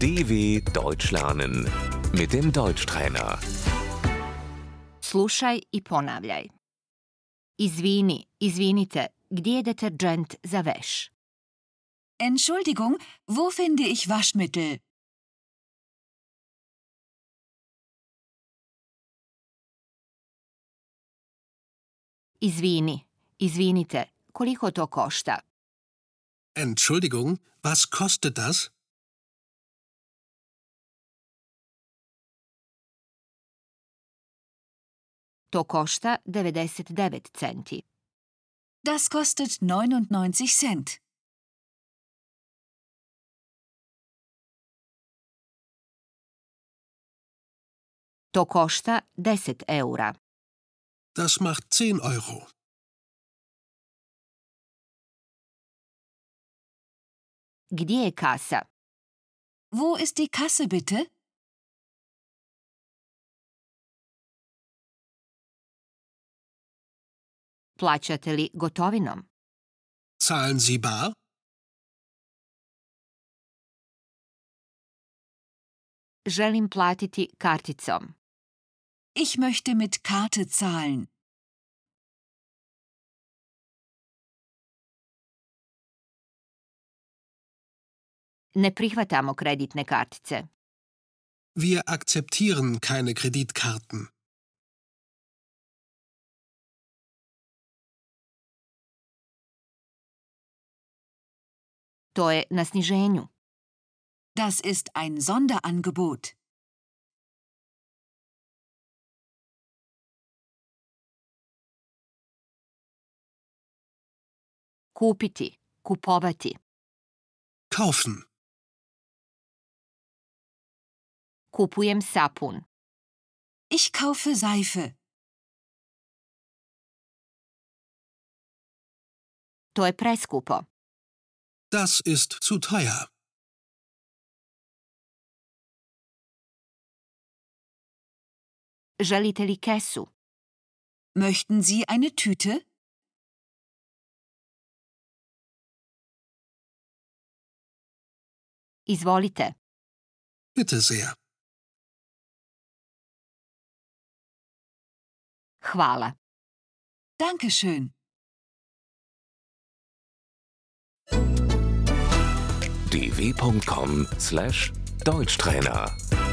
DW Deutsch lernen mit dem Deutschtrainer. Slušaj i ponavljaj. Izvini, izvinite, gdje je deterdžent za veš? Entschuldigung, wo finde ich Waschmittel? Izvini, izvinite, koliko to košta? Entschuldigung, was kostet das? To košta 99 centi. Das kostet 99 Cent. To košta 10 eura. Das macht 10 Euro. Gdje je kasa? Wo ist die Kasse bitte? Plaćate li gotovinom? Zahlen Sie bar? Želim platiti karticom. Ich möchte mit Karte zahlen. Ne prihvatamo kreditne kartice. Wir akzeptieren keine Kreditkarten. To je na sniženju. Das ist ein Sonderangebot. Kupiti, kupovati, Kaufen. kupujem sapun. Ich kaufe Seife. To je preskupo. Das ist zu teuer. Želite li kesu? Möchten Sie eine Tüte? Izvolite. Bitte sehr. Hvala. Dankeschön. dw.com/deutschtrainer